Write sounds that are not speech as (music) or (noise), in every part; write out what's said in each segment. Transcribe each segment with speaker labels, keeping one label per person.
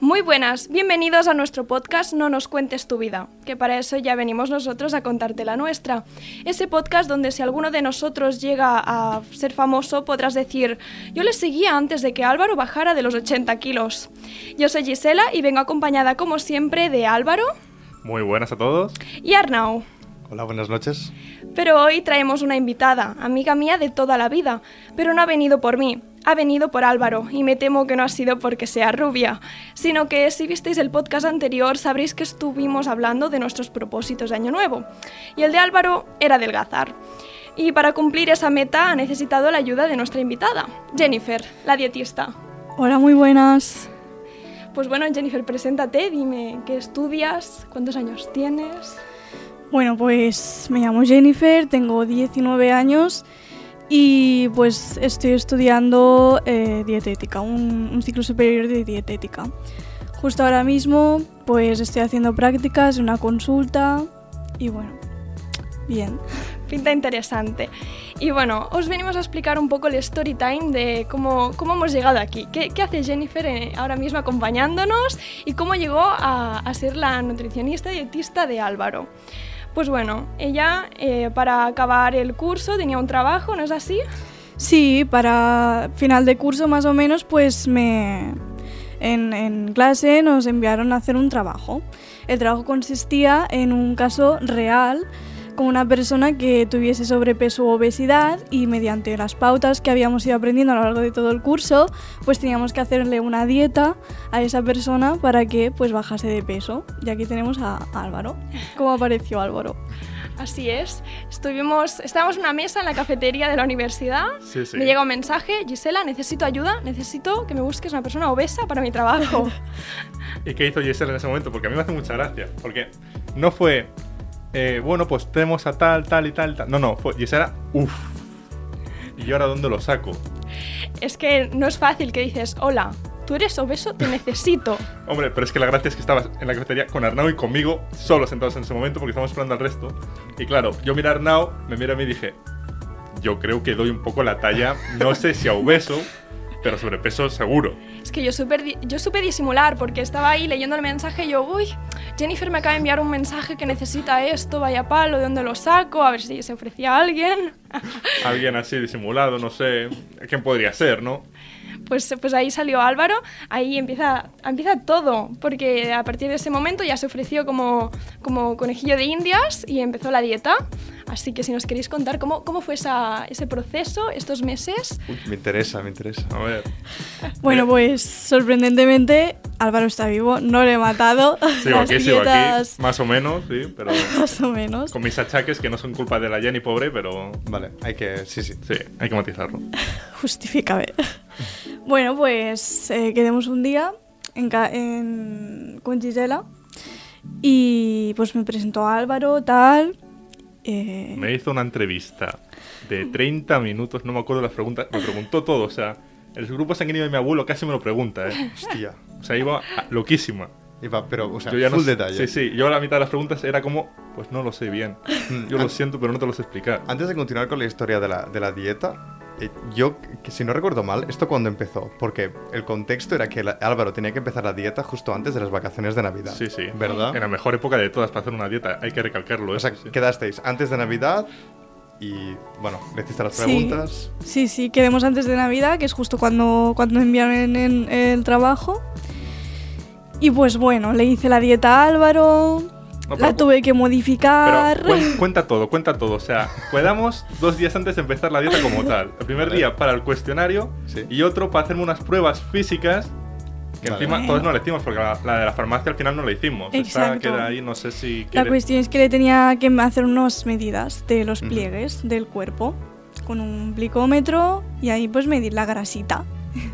Speaker 1: Muy buenas, bienvenidos a nuestro podcast No nos cuentes tu vida, que para eso ya venimos nosotros a contarte la nuestra. Ese podcast donde si alguno de nosotros llega a ser famoso podrás decir, yo le seguía antes de que Álvaro bajara de los 80 kilos. Yo soy Gisela y vengo acompañada como siempre de Álvaro
Speaker 2: Muy buenas a todos.
Speaker 1: y Arnau.
Speaker 2: Hola, buenas noches.
Speaker 1: Pero hoy traemos una invitada, amiga mía de toda la vida, pero no ha venido por mí, ha venido por Álvaro, y me temo que no ha sido porque sea rubia, sino que si visteis el podcast anterior sabréis que estuvimos hablando de nuestros propósitos de Año Nuevo, y el de Álvaro era adelgazar. Y para cumplir esa meta ha necesitado la ayuda de nuestra invitada, Jennifer, la dietista.
Speaker 3: Hola, muy buenas.
Speaker 1: Pues bueno, Jennifer, preséntate, dime qué estudias, cuántos años tienes.
Speaker 3: Bueno, pues me llamo Jennifer, tengo 19 años y pues estoy estudiando eh, dietética, un, un ciclo superior de dietética. Justo ahora mismo pues estoy haciendo prácticas, una consulta y bueno, bien.
Speaker 1: Pinta interesante. Y bueno, os venimos a explicar un poco el story time de cómo, cómo hemos llegado aquí. ¿Qué, qué hace Jennifer eh, ahora mismo acompañándonos y cómo llegó a, a ser la nutricionista y dietista de Álvaro? Pues bueno, ella eh, para acabar el curso tenía un trabajo, ¿no es así?
Speaker 3: Sí, para final de curso más o menos, pues me en, en clase nos enviaron a hacer un trabajo. El trabajo consistía en un caso real con una persona que tuviese sobrepeso u obesidad y mediante las pautas que habíamos ido aprendiendo a lo largo de todo el curso, pues teníamos que hacerle una dieta a esa persona para que pues bajase de peso. Y aquí tenemos a Álvaro. ¿Cómo apareció Álvaro?
Speaker 1: Así es. Estuvimos, estábamos en una mesa en la cafetería de la universidad.
Speaker 2: Sí, sí.
Speaker 1: Me llega un mensaje, Gisela, necesito ayuda, necesito que me busques una persona obesa para mi trabajo.
Speaker 2: ¿Y qué hizo Giselle en ese momento? Porque a mí me hace mucha gracia. Porque no fue, eh, bueno, pues tenemos a tal, tal y tal, tal. No, no, fue Gisela, uff. ¿Y yo ahora dónde lo saco?
Speaker 1: Es que no es fácil que dices, hola, tú eres obeso, te necesito.
Speaker 2: Hombre, pero es que la gracia es que estabas en la cafetería con Arnau y conmigo, solos sentados en ese momento, porque estábamos esperando al resto. Y claro, yo miré a Arnau, me miré a mí y dije, yo creo que doy un poco la talla, no sé si a obeso, pero sobrepeso seguro.
Speaker 1: Es que yo, super, di- yo supe disimular porque estaba ahí leyendo el mensaje y yo, uy, Jennifer me acaba de enviar un mensaje que necesita esto, vaya palo, ¿de dónde lo saco? A ver si se ofrecía a alguien. (laughs)
Speaker 2: Alguien así disimulado, no sé, ¿quién podría ser, no?
Speaker 1: Pues, pues ahí salió Álvaro, ahí empieza, empieza todo, porque a partir de ese momento ya se ofreció como, como conejillo de indias y empezó la dieta. Así que si nos queréis contar cómo, cómo fue esa- ese proceso, estos meses,
Speaker 4: Uy, me interesa, me interesa.
Speaker 2: A ver. Eh,
Speaker 3: Bueno, pues sorprendentemente Álvaro está vivo, no lo he matado.
Speaker 2: (laughs) Sigo
Speaker 3: Las
Speaker 2: aquí, sigo
Speaker 3: dietas,
Speaker 2: aquí. Más o menos, sí, pero
Speaker 3: Más o menos.
Speaker 2: con mis achaques que no son culpa de la Jenny pobre, pero
Speaker 4: Vale, hay que. Sí, sí.
Speaker 2: sí, hay que matizarlo.
Speaker 3: Justifícame.
Speaker 2: (laughs)
Speaker 3: bueno, pues eh, quedemos un día en ca- en- con Gisela y pues me presentó a Álvaro, tal. eh,
Speaker 2: Me hizo una entrevista de 30 minutos, no me acuerdo las preguntas, me preguntó todo, o sea, el grupo sanguíneo de mi abuelo casi me lo pregunta, ¿eh?
Speaker 4: Hostia.
Speaker 2: O sea, iba a- loquísima.
Speaker 4: Iba, pero, o sea,
Speaker 2: Yo ya no
Speaker 4: full
Speaker 2: sé-
Speaker 4: detalle.
Speaker 2: Sí, sí, yo la mitad de las preguntas era como, pues no lo sé bien. Yo lo siento, pero no te lo sé explicar.
Speaker 4: Antes de continuar con la historia de la, de la dieta, eh, yo, que si no recuerdo mal, esto cuando empezó, porque el contexto era que la- Álvaro tenía que empezar la dieta justo antes de las vacaciones de Navidad.
Speaker 2: Sí, sí.
Speaker 4: ¿Verdad?
Speaker 2: En la mejor época de todas para hacer una dieta, hay que recalcarlo, ¿eh?
Speaker 4: O sea,
Speaker 2: Sí.
Speaker 4: quedasteis antes de Navidad y, bueno, le hiciste las
Speaker 3: Sí.
Speaker 4: preguntas.
Speaker 3: Sí, sí, quedemos antes de Navidad, que es justo cuando, cuando enviaron en- en el trabajo. Y pues bueno, le hice la dieta a Álvaro,
Speaker 2: No, pero
Speaker 3: la
Speaker 2: cu-
Speaker 3: tuve que modificar.
Speaker 2: Pero cuen- cuenta todo, cuenta todo. O sea, quedamos dos días antes de empezar la dieta como tal. El primer
Speaker 4: Vale.
Speaker 2: día para el cuestionario
Speaker 4: Sí.
Speaker 2: y otro para hacerme unas pruebas físicas. Que
Speaker 4: Vale.
Speaker 2: encima todos no la hicimos porque la, la de la farmacia al final no la hicimos. Esta
Speaker 3: Exacto.
Speaker 2: queda ahí, no sé si.
Speaker 3: La
Speaker 2: quiere-
Speaker 3: cuestión es que le tenía que hacer unas medidas de los
Speaker 4: Ujú.
Speaker 3: pliegues del cuerpo con un glicómetro y ahí pues medir la grasita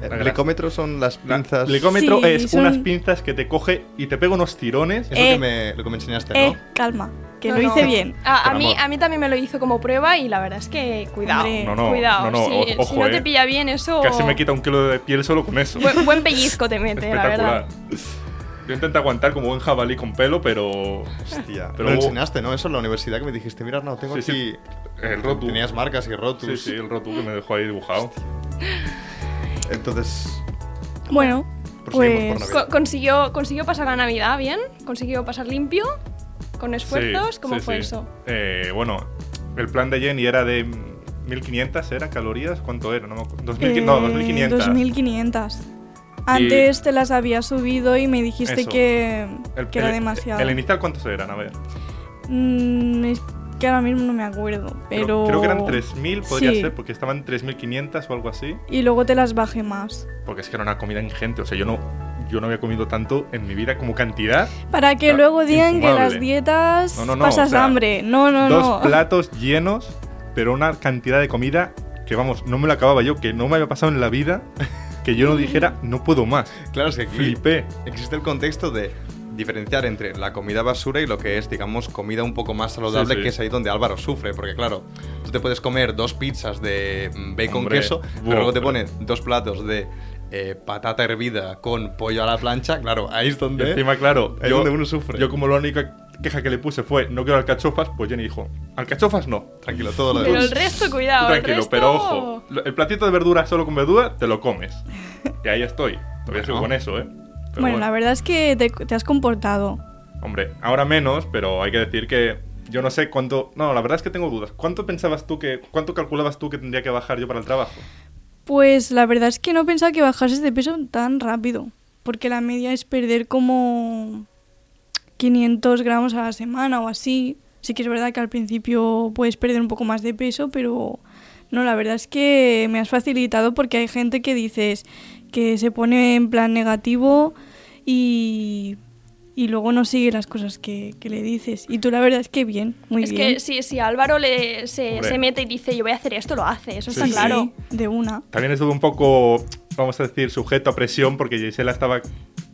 Speaker 4: El
Speaker 2: La
Speaker 4: glicómetro Eh, son las
Speaker 2: La-
Speaker 4: pinzas.
Speaker 2: Glicómetro
Speaker 3: Sí,
Speaker 2: es
Speaker 3: son-
Speaker 2: unas pinzas que te coge y te pega unos tirones.
Speaker 4: Es
Speaker 3: Eh.
Speaker 4: lo, que me, lo que me enseñaste,
Speaker 3: Eh,
Speaker 4: ¿no?
Speaker 3: calma, que
Speaker 1: No,
Speaker 3: lo
Speaker 1: no. Ah,
Speaker 3: hice bien.
Speaker 1: A, a
Speaker 4: Por
Speaker 1: mí,
Speaker 4: amor.
Speaker 1: a mí también me lo hizo como prueba y la verdad es que cuidado.
Speaker 3: Hombre.
Speaker 2: No, no,
Speaker 1: cuidado.
Speaker 2: no, no,
Speaker 1: si,
Speaker 2: o-
Speaker 1: si
Speaker 2: ojo,
Speaker 1: no
Speaker 2: eh.
Speaker 1: te pilla bien
Speaker 3: Oh.
Speaker 1: eso.
Speaker 2: Casi me quita un kilo de piel solo con eso. (laughs)
Speaker 1: Buen, buen pellizco te mete, la
Speaker 2: Espectacular.
Speaker 1: verdad.
Speaker 2: Yo intento aguantar como buen jabalí con pelo, pero.
Speaker 4: Hostia.
Speaker 2: Pero
Speaker 4: Pero lo
Speaker 2: hubo-
Speaker 4: enseñaste, ¿no? Eso en la universidad que me dijiste, mira, no, tengo
Speaker 2: Sí,
Speaker 4: aquí.
Speaker 2: sí. El Eh, rotu.
Speaker 4: Tenías marcas y
Speaker 2: Sí,
Speaker 4: rotus.
Speaker 2: sí, el rotu que me dejó ahí dibujado.
Speaker 4: Entonces,
Speaker 3: Bueno,
Speaker 4: Proseguimos
Speaker 3: pues
Speaker 4: por
Speaker 1: Co- consiguió, consiguió pasar la Navidad bien, consiguió pasar limpio, con esfuerzos.
Speaker 2: Sí,
Speaker 1: ¿Cómo
Speaker 2: sí,
Speaker 1: fue
Speaker 2: sí.
Speaker 1: eso?
Speaker 2: Eh, bueno, el plan de Jenny era de mm, 1500, ¿era? ¿Calorías? ¿Cuánto era? No, me acu- 2000, no
Speaker 3: eh,
Speaker 2: 2500.
Speaker 3: 2500. Antes te las había subido y me dijiste
Speaker 2: Eso.
Speaker 3: que,
Speaker 2: El-
Speaker 3: que era
Speaker 2: el-
Speaker 3: demasiado.
Speaker 2: ¿El inicial cuántos eran? A ver.
Speaker 3: Mm, es que ahora mismo no me acuerdo,
Speaker 2: creo-
Speaker 3: pero...
Speaker 2: Creo que eran 3000, podría
Speaker 3: Sí.
Speaker 2: ser, porque estaban 3500 o algo así.
Speaker 3: Y luego te las bajé más.
Speaker 2: Porque es que era una comida ingente. O sea, yo no, yo no había comido tanto en mi vida como cantidad.
Speaker 3: Para que
Speaker 2: Ah,
Speaker 3: luego digan que
Speaker 2: infumable.
Speaker 3: las dietas
Speaker 2: No, no, no,
Speaker 3: pasas
Speaker 2: o sea,
Speaker 3: hambre. No, no,
Speaker 2: Dos
Speaker 3: no.
Speaker 2: platos llenos, pero una cantidad de comida que, vamos, no me la acababa yo, que no me había pasado en la vida, (laughs) que yo no dijera, no puedo más.
Speaker 4: claro, es que aquí
Speaker 2: Flipé.
Speaker 4: existe el contexto de diferenciar entre la comida basura y lo que es, digamos, comida un poco más saludable,
Speaker 2: Sí, sí.
Speaker 4: que es ahí donde Álvaro sufre, porque claro, tú te puedes comer dos pizzas de mm, bacon
Speaker 2: Hombre,
Speaker 4: queso,
Speaker 2: buah,
Speaker 4: pero luego te
Speaker 2: pero-
Speaker 4: ponen dos platos de eh, patata hervida con pollo a la plancha, claro, ahí es
Speaker 2: Y
Speaker 4: donde...
Speaker 2: encima, claro,
Speaker 4: ¿Eh? Ahí es donde uno sufre.
Speaker 2: Yo, como la única queja que le puse fue, no quiero alcachofas, pues Jenny dijo, alcachofas no.
Speaker 4: Tranquilo, todo lo
Speaker 1: Pero
Speaker 4: demás.
Speaker 1: el resto, cuidado.
Speaker 2: Tú
Speaker 1: el
Speaker 2: tranquilo,
Speaker 1: resto-
Speaker 2: pero ojo, lo- el platito de verduras solo con verdura, te
Speaker 1: (laughs)
Speaker 2: lo comes. Y ahí estoy. Todavía sigo
Speaker 4: Bueno.
Speaker 2: con eso, ¿eh? Pero
Speaker 3: Bueno, la verdad es que te, te has comportado.
Speaker 2: Hombre, ahora menos, pero hay que decir que yo no sé cuánto. No, la verdad es que tengo dudas. ¿Cuánto pensabas tú que. ¿Cuánto calculabas tú que tendría que bajar yo para el trabajo?
Speaker 3: Pues la verdad es que no pensaba que bajases de peso tan rápido. Porque la media es perder como 500 gramos a la semana o así. Sí que es verdad que al principio puedes perder un poco más de peso, pero no, la verdad es que me has facilitado porque hay gente que dices que se pone en plan negativo y, y luego no sigue las cosas que, que le dices. Y tú la verdad es que bien, muy
Speaker 1: es
Speaker 3: bien.
Speaker 1: que si, si Álvaro le, se,
Speaker 2: Hombre.
Speaker 1: se mete y dice yo voy a hacer esto, lo hace, eso
Speaker 2: Sí,
Speaker 1: está
Speaker 2: sí.
Speaker 1: claro.
Speaker 3: de una.
Speaker 2: También estuve un poco, vamos a decir, sujeto a presión porque Gisela estaba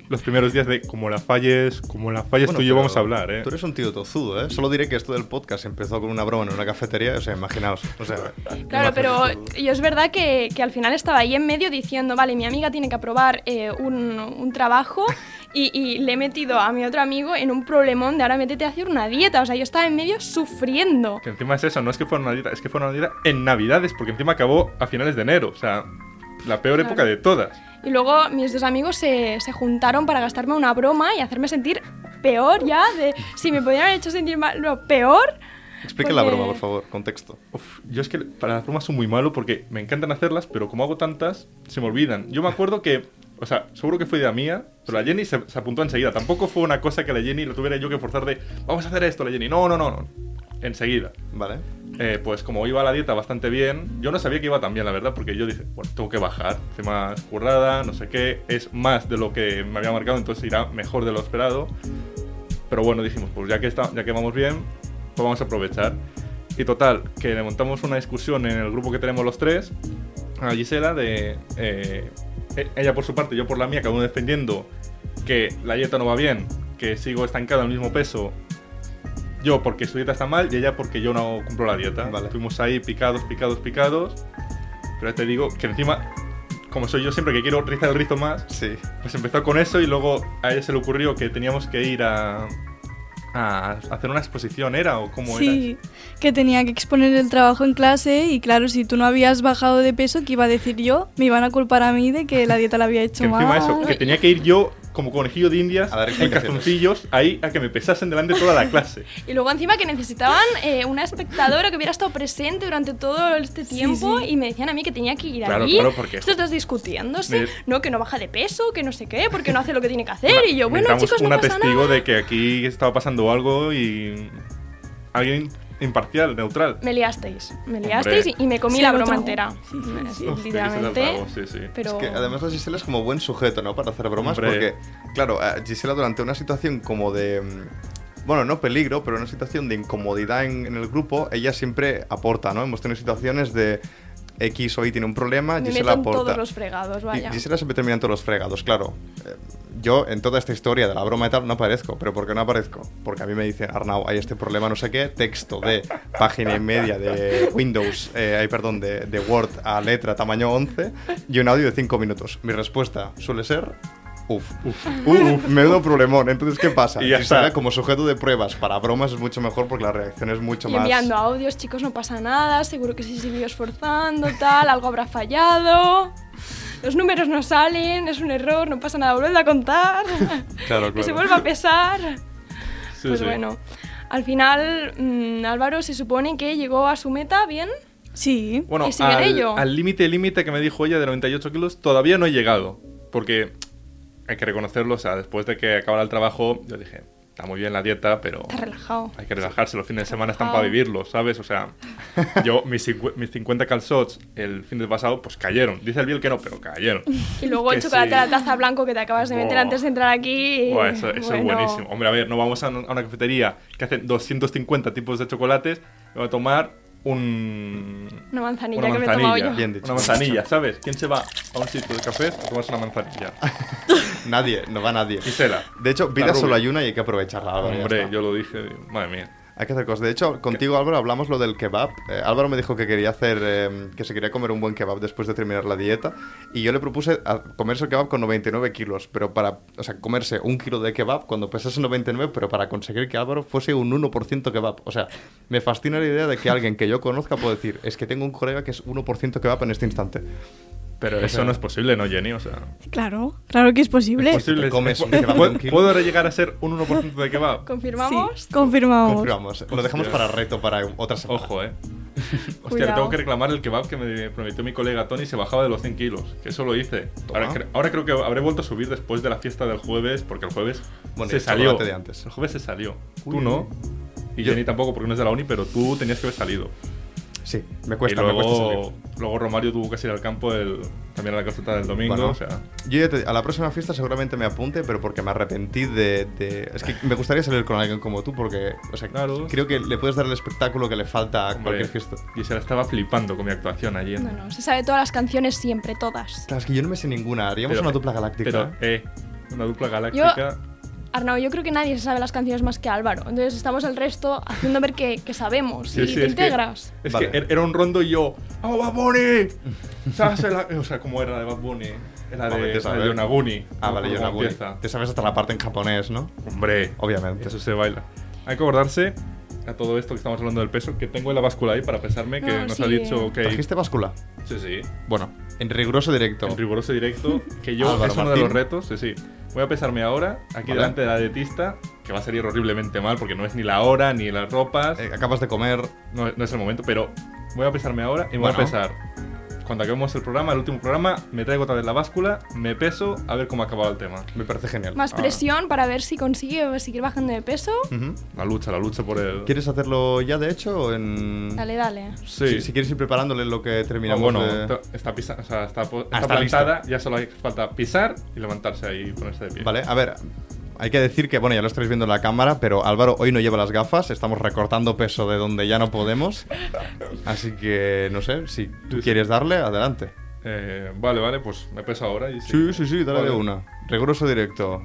Speaker 2: los primeros días de como la falles, como la falles
Speaker 4: Bueno,
Speaker 2: tú y yo
Speaker 4: pero
Speaker 2: vamos a hablar, ¿eh?
Speaker 4: Tú eres un tío tozudo, ¿eh? Solo diré que esto del podcast empezó con una broma en una cafetería, o sea, imaginaos. O sea,
Speaker 1: Claro,
Speaker 4: imaginaos.
Speaker 1: pero yo es verdad que, que al final estaba ahí en medio diciendo, vale, mi amiga tiene que aprobar eh, un, un trabajo y, y le he metido a mi otro amigo en un problemón de ahora métete a hacer una dieta. O sea, yo estaba en medio sufriendo.
Speaker 2: Que encima es eso, no es que fuera una dieta, es que fuera una dieta en Navidades porque encima acabó a finales de enero, o sea, la peor
Speaker 1: Claro.
Speaker 2: época de todas.
Speaker 1: Y luego mis dos amigos se, se juntaron para gastarme una broma y hacerme sentir peor ya, de si me podían haber hecho sentir mal, no, peor.
Speaker 4: Explica la
Speaker 1: porque-
Speaker 4: broma, por favor, contexto.
Speaker 2: Uf, yo es que para las bromas soy muy malo porque me encantan hacerlas, pero como hago tantas, se me olvidan. Yo me acuerdo que, o sea, seguro que fue idea mía, pero la Jenny se, se apuntó enseguida. Tampoco fue una cosa que la Jenny la tuviera yo que forzar de, vamos a hacer esto, la Jenny. No, no, no, no. Enseguida.
Speaker 4: ¿Vale?
Speaker 2: Eh, pues como iba la dieta bastante bien, yo no sabía que iba tan bien, la verdad, porque yo dije, bueno, tengo que bajar, hace más currada, no sé qué, es más de lo que me había marcado, entonces irá mejor de lo esperado. Pero bueno, dijimos, pues ya que, está, ya que vamos bien, pues vamos a aprovechar. Y total, que le montamos una discusión en el grupo que tenemos los tres, a Gisela, de eh, e- ella por su parte, yo por la mía, cada uno defendiendo que la dieta no va bien, que sigo estancado al mismo peso yo porque su dieta está mal y ella porque yo no cumplo la dieta.
Speaker 4: Vale.
Speaker 2: Fuimos ahí picados, picados, picados. Pero ya te digo que encima, como soy yo siempre que quiero rizar el rizo más,
Speaker 4: Sí.
Speaker 2: pues empezó con eso y luego a ella se le ocurrió que teníamos que ir a, a hacer una exposición, ¿era? ¿O cómo
Speaker 3: Sí, que tenía que exponer el trabajo en clase y claro, si tú no habías bajado de peso, ¿qué iba a decir yo? Me iban a culpar a mí de que la dieta la había
Speaker 2: era?
Speaker 3: hecho
Speaker 2: Que encima
Speaker 3: mal.
Speaker 2: eso, que tenía que ir yo como conejillo de indias
Speaker 4: A
Speaker 2: en
Speaker 4: dar explicaciones.
Speaker 2: calzoncillos ahí a que me pesasen delante de toda la
Speaker 1: (laughs)
Speaker 2: clase.
Speaker 1: Y luego encima que necesitaban eh, una espectadora que hubiera estado presente durante todo este tiempo
Speaker 3: sí.
Speaker 1: y me decían a mí que tenía que ir
Speaker 2: Claro,
Speaker 1: allí.
Speaker 2: claro, porque-
Speaker 1: Estos dos discutiéndose,
Speaker 2: Me-
Speaker 1: no, que no baja de peso, que no sé qué, porque no hace lo que tiene que hacer. Y yo, bueno,
Speaker 2: Necesitamos
Speaker 1: chicos, no
Speaker 2: una
Speaker 1: pasa
Speaker 2: testigo
Speaker 1: nada.
Speaker 2: de que aquí estaba pasando algo y alguien imparcial, neutral.
Speaker 1: Me liasteis, me liasteis y, y me comí
Speaker 3: Sí,
Speaker 1: la
Speaker 3: lo
Speaker 1: broma
Speaker 3: trago.
Speaker 1: entera.
Speaker 3: Sí, sí, sí.
Speaker 2: Uf,
Speaker 1: Literalmente.
Speaker 2: tiene que ser el trago, sí, sí.
Speaker 1: Pero...
Speaker 4: Es que además la Gisela es como buen sujeto, ¿no? Para hacer bromas,
Speaker 2: Hombre.
Speaker 4: porque, claro, a Gisela durante una situación como de. mm, Bueno, no peligro, pero una situación de incomodidad en, en el grupo, ella siempre aporta, ¿no? Hemos tenido situaciones de. X o Y tiene un problema,
Speaker 1: Me meto
Speaker 4: Gisela
Speaker 1: en
Speaker 4: aporta.
Speaker 1: todos los fregados,
Speaker 4: Y
Speaker 1: vaya.
Speaker 4: Gisela siempre termina en todos los fregados, claro. Eh, Yo en toda esta historia de la broma y tal no aparezco. ¿Pero por qué no aparezco? Porque a mí me dicen, Arnau, hay este problema, no sé qué, texto de página y media de Windows, eh, ay, perdón, de, de Word a letra tamaño 11 y un audio de 5 minutos. Mi respuesta suele ser... Uf, uf, uf, menudo problemón. Entonces, ¿qué pasa?
Speaker 2: Y ya
Speaker 4: Gisela,
Speaker 2: está.
Speaker 4: como sujeto de pruebas para bromas es mucho mejor porque la reacción es mucho
Speaker 1: Y
Speaker 4: más.
Speaker 1: enviando audios, chicos, no pasa nada, seguro que se siguió esforzando, tal, algo habrá fallado, los números no salen, es un error, no pasa nada, vuelve a
Speaker 2: (laughs)
Speaker 1: contar,
Speaker 4: Claro,
Speaker 1: que se
Speaker 4: claro.
Speaker 1: vuelva a pesar.
Speaker 2: Sí,
Speaker 1: pues
Speaker 2: sí.
Speaker 1: bueno, al final mm, Álvaro se supone que llegó a su meta bien,
Speaker 3: Sí.
Speaker 2: Bueno,
Speaker 1: ¿Y sigue en
Speaker 2: al
Speaker 1: ello?
Speaker 2: al límite límite que me dijo ella de 98 kilos, todavía no he llegado. Porque hay que reconocerlo, o sea, después de que acabara el trabajo, yo dije, está muy bien la dieta, pero
Speaker 1: está Oh. relajado.
Speaker 2: hay que relajarse, los fines de semana están
Speaker 1: Relajado.
Speaker 2: para vivirlos, ¿sabes?
Speaker 1: (laughs)
Speaker 2: O sea, yo mis, cincu- mis 50 calzots el fin de pasado, pues cayeron. Dice el Bill que no,
Speaker 1: (laughs)
Speaker 2: pero cayeron.
Speaker 1: Y luego el
Speaker 2: que
Speaker 1: chocolate
Speaker 2: sí.
Speaker 1: a la taza blanco que te acabas de meter
Speaker 2: Buah.
Speaker 1: antes de entrar aquí. y
Speaker 2: Buah, eso, eso
Speaker 1: bueno,
Speaker 2: es buenísimo. Hombre, a ver, no vamos a, un- a una cafetería que hace 250 tipos de chocolates, y vamos a tomar un...
Speaker 1: Una manzanilla,
Speaker 2: Una
Speaker 1: que me he tomado
Speaker 2: manzanilla,
Speaker 1: yo.
Speaker 4: bien dicho.
Speaker 2: Una manzanilla, ¿sabes? ¿Quién se va a un sitio de café a tomarse una manzanilla?
Speaker 4: Ah, Nadie, no va nadie.
Speaker 2: Gisela.
Speaker 4: De hecho,
Speaker 2: La
Speaker 4: vida solo
Speaker 2: rubia.
Speaker 4: hay una y hay que aprovecharla. Álvaro, ya
Speaker 2: Hombre,
Speaker 4: está.
Speaker 2: yo lo dije, madre mía.
Speaker 4: Hay que hacer cosas. De hecho, contigo, Álvaro, hablamos lo del kebab. Eh, Álvaro me dijo que quería hacer, eh, que se quería comer un buen kebab después de terminar la dieta. Y yo le propuse a- comerse el kebab con 99 kilos, pero para, o sea, comerse un kilo de kebab cuando pesase 99, pero para conseguir que Álvaro fuese un 1% kebab. O sea, me fascina la idea de que alguien que yo conozca puede decir, es que tengo un colega que es 1% kebab en este instante.
Speaker 2: Pero eso no es posible, ¿no, Jenny? O sea,
Speaker 3: Claro, claro que es posible.
Speaker 2: es posible.
Speaker 4: Te comes
Speaker 2: es-
Speaker 4: un kebab de
Speaker 2: ¿Puedo-
Speaker 4: un kilo.
Speaker 2: ¿Puedo llegar a ser un 1% de kebab?
Speaker 1: ¿Confirmamos?
Speaker 3: Sí, confirmamos.
Speaker 4: Confirmamos. Lo dejamos para reto para otra semana.
Speaker 2: Ojo,
Speaker 1: (laughs)
Speaker 2: eh. Hostia, le
Speaker 1: Cuidado.
Speaker 2: tengo que reclamar el kebab que me prometió mi colega Tony se bajaba de los 100 kilos. Que eso lo hice. Ahora,
Speaker 4: Toma.
Speaker 2: cre- ahora creo que habré vuelto a subir después de la fiesta del jueves, porque el jueves
Speaker 4: Bueno, y
Speaker 2: se
Speaker 4: el
Speaker 2: salió.
Speaker 4: chocolate de antes.
Speaker 2: El jueves se salió.
Speaker 4: Uy.
Speaker 2: Tú no. Y
Speaker 4: Yo-
Speaker 2: Jenny tampoco, porque no es de la uni, pero tú tenías que haber salido.
Speaker 4: Sí, me cuesta,
Speaker 2: y
Speaker 4: me cuesta
Speaker 2: luego,
Speaker 4: salir.
Speaker 2: luego Romario tuvo que ir al campo el, también a la calceta del domingo.
Speaker 4: Bueno,
Speaker 2: o sea,
Speaker 4: Yo ya te- a la próxima fiesta seguramente me apunte, pero porque me arrepentí de, de- Es que me gustaría salir con alguien como tú, porque o sea,
Speaker 2: Claro.
Speaker 4: creo que le puedes dar el espectáculo que le falta a cualquier fiesta.
Speaker 2: y se la estaba flipando con mi actuación ¿eh? ayer.
Speaker 1: No, no, se sabe todas las canciones siempre, todas.
Speaker 4: Claro, es que yo no me sé ninguna. Haríamos
Speaker 2: Pero-
Speaker 4: una dupla galáctica.
Speaker 2: Pero,
Speaker 4: ¿eh?
Speaker 2: eh, una dupla galáctica.
Speaker 1: Arnau, yo creo que nadie se sabe las canciones más que Álvaro. Entonces estamos el resto haciendo ver que, que sabemos
Speaker 2: Sí,
Speaker 1: y
Speaker 2: sí,
Speaker 1: te
Speaker 2: es que-
Speaker 1: integras.
Speaker 2: Es
Speaker 4: Vale.
Speaker 2: que er- era un rondo y yo, ¡Oh, Bad Bunny! ¿Sabes la- O sea, ¿cómo era la de Bad Bunny? Era
Speaker 4: Hombre,
Speaker 2: de,
Speaker 4: te
Speaker 2: la
Speaker 4: sabes.
Speaker 2: de Yonaguni.
Speaker 4: Ah,
Speaker 2: ¿no?
Speaker 4: vale,
Speaker 2: ¿Cómo
Speaker 4: yo no voy.
Speaker 2: empieza?
Speaker 4: Te sabes hasta la parte en japonés, ¿no?
Speaker 2: Hombre,
Speaker 4: Obviamente.
Speaker 2: eso se baila. Hay que acordarse a todo esto que estamos hablando del peso, que tengo en la báscula ahí para pesarme que
Speaker 1: No,
Speaker 2: nos
Speaker 1: sí.
Speaker 2: ha dicho que...
Speaker 4: ¿Trajiste báscula?
Speaker 2: Sí, sí.
Speaker 4: Bueno, en riguroso directo.
Speaker 2: En riguroso directo, que yo
Speaker 4: Álvaro
Speaker 2: es uno
Speaker 4: Ah, Martín.
Speaker 2: de los retos, sí, sí. Voy a pesarme ahora, aquí
Speaker 4: Vale.
Speaker 2: delante de la dietista, que va a salir horriblemente mal porque no es ni la hora, ni las ropas.
Speaker 4: Eh, acabas de comer.
Speaker 2: No, no es el momento, pero voy a pesarme ahora y me voy
Speaker 4: Bueno.
Speaker 2: a pesar. Cuando acabemos el programa, el último programa, me traigo otra vez la báscula, me peso, a ver cómo ha acabado el tema.
Speaker 4: Me parece genial.
Speaker 1: Más
Speaker 2: Ah.
Speaker 1: presión para ver si consigue seguir bajando de peso.
Speaker 4: Ujú.
Speaker 2: La lucha, la lucha por el.
Speaker 4: ¿Quieres hacerlo ya, de hecho? o En...
Speaker 1: Dale, dale.
Speaker 2: Sí.
Speaker 4: Si, si quieres ir preparándole lo que
Speaker 2: Ah,
Speaker 4: terminamos
Speaker 2: bueno,
Speaker 4: de-
Speaker 2: ta- está, pisa- o sea, está, po- está
Speaker 4: Ah, está
Speaker 2: plantada, ya solo hay- falta pisar y levantarse ahí y ponerse de pie.
Speaker 4: Vale, a ver, hay que decir que, bueno, ya lo estáis viendo en la cámara, pero Álvaro hoy no lleva las gafas, estamos recortando peso de donde ya no podemos. Así que, no sé, si tú quieres darle, adelante.
Speaker 2: Eh, vale, vale, pues me peso ahora y
Speaker 4: Sí, sí, sí, dale
Speaker 2: Vale.
Speaker 4: de una. Riguroso directo.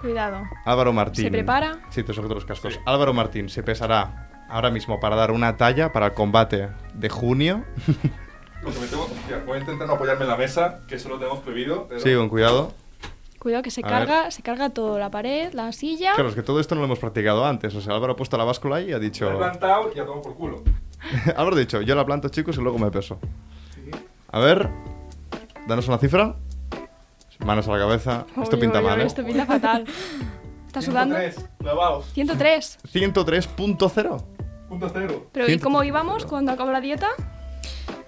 Speaker 1: Cuidado.
Speaker 4: Álvaro Martín.
Speaker 1: ¿Se prepara?
Speaker 4: Sí, te sujeto los cascos. Álvaro Martín se pesará ahora mismo para dar una talla para el combate de junio.
Speaker 2: Lo que me tengo- hostia, voy a intentar no apoyarme en la mesa, que eso lo tenemos prohibido. pero-
Speaker 4: Sí, con cuidado.
Speaker 1: Cuidado que se
Speaker 4: A
Speaker 1: carga, se carga todo, la pared, la silla.
Speaker 4: Claro, es que todo esto no lo hemos practicado antes. O sea, Álvaro ha puesto la báscula ahí y ha dicho...
Speaker 2: Me he plantado y ya tomo por culo.
Speaker 4: (laughs) Álvaro ha dicho, yo la planto, chicos, y luego me peso. A ver, danos una cifra. Manos a la cabeza. esto
Speaker 1: Uy,
Speaker 4: pinta
Speaker 1: uy,
Speaker 4: mal,
Speaker 1: uy,
Speaker 4: ¿eh?
Speaker 1: Esto pinta fatal. ¿Estás sudando?
Speaker 2: 103, clavaos,
Speaker 1: 103.
Speaker 4: 103.0.
Speaker 2: punto cero.
Speaker 1: Pero ¿y
Speaker 4: 103,
Speaker 1: cómo íbamos cuando acabó la dieta?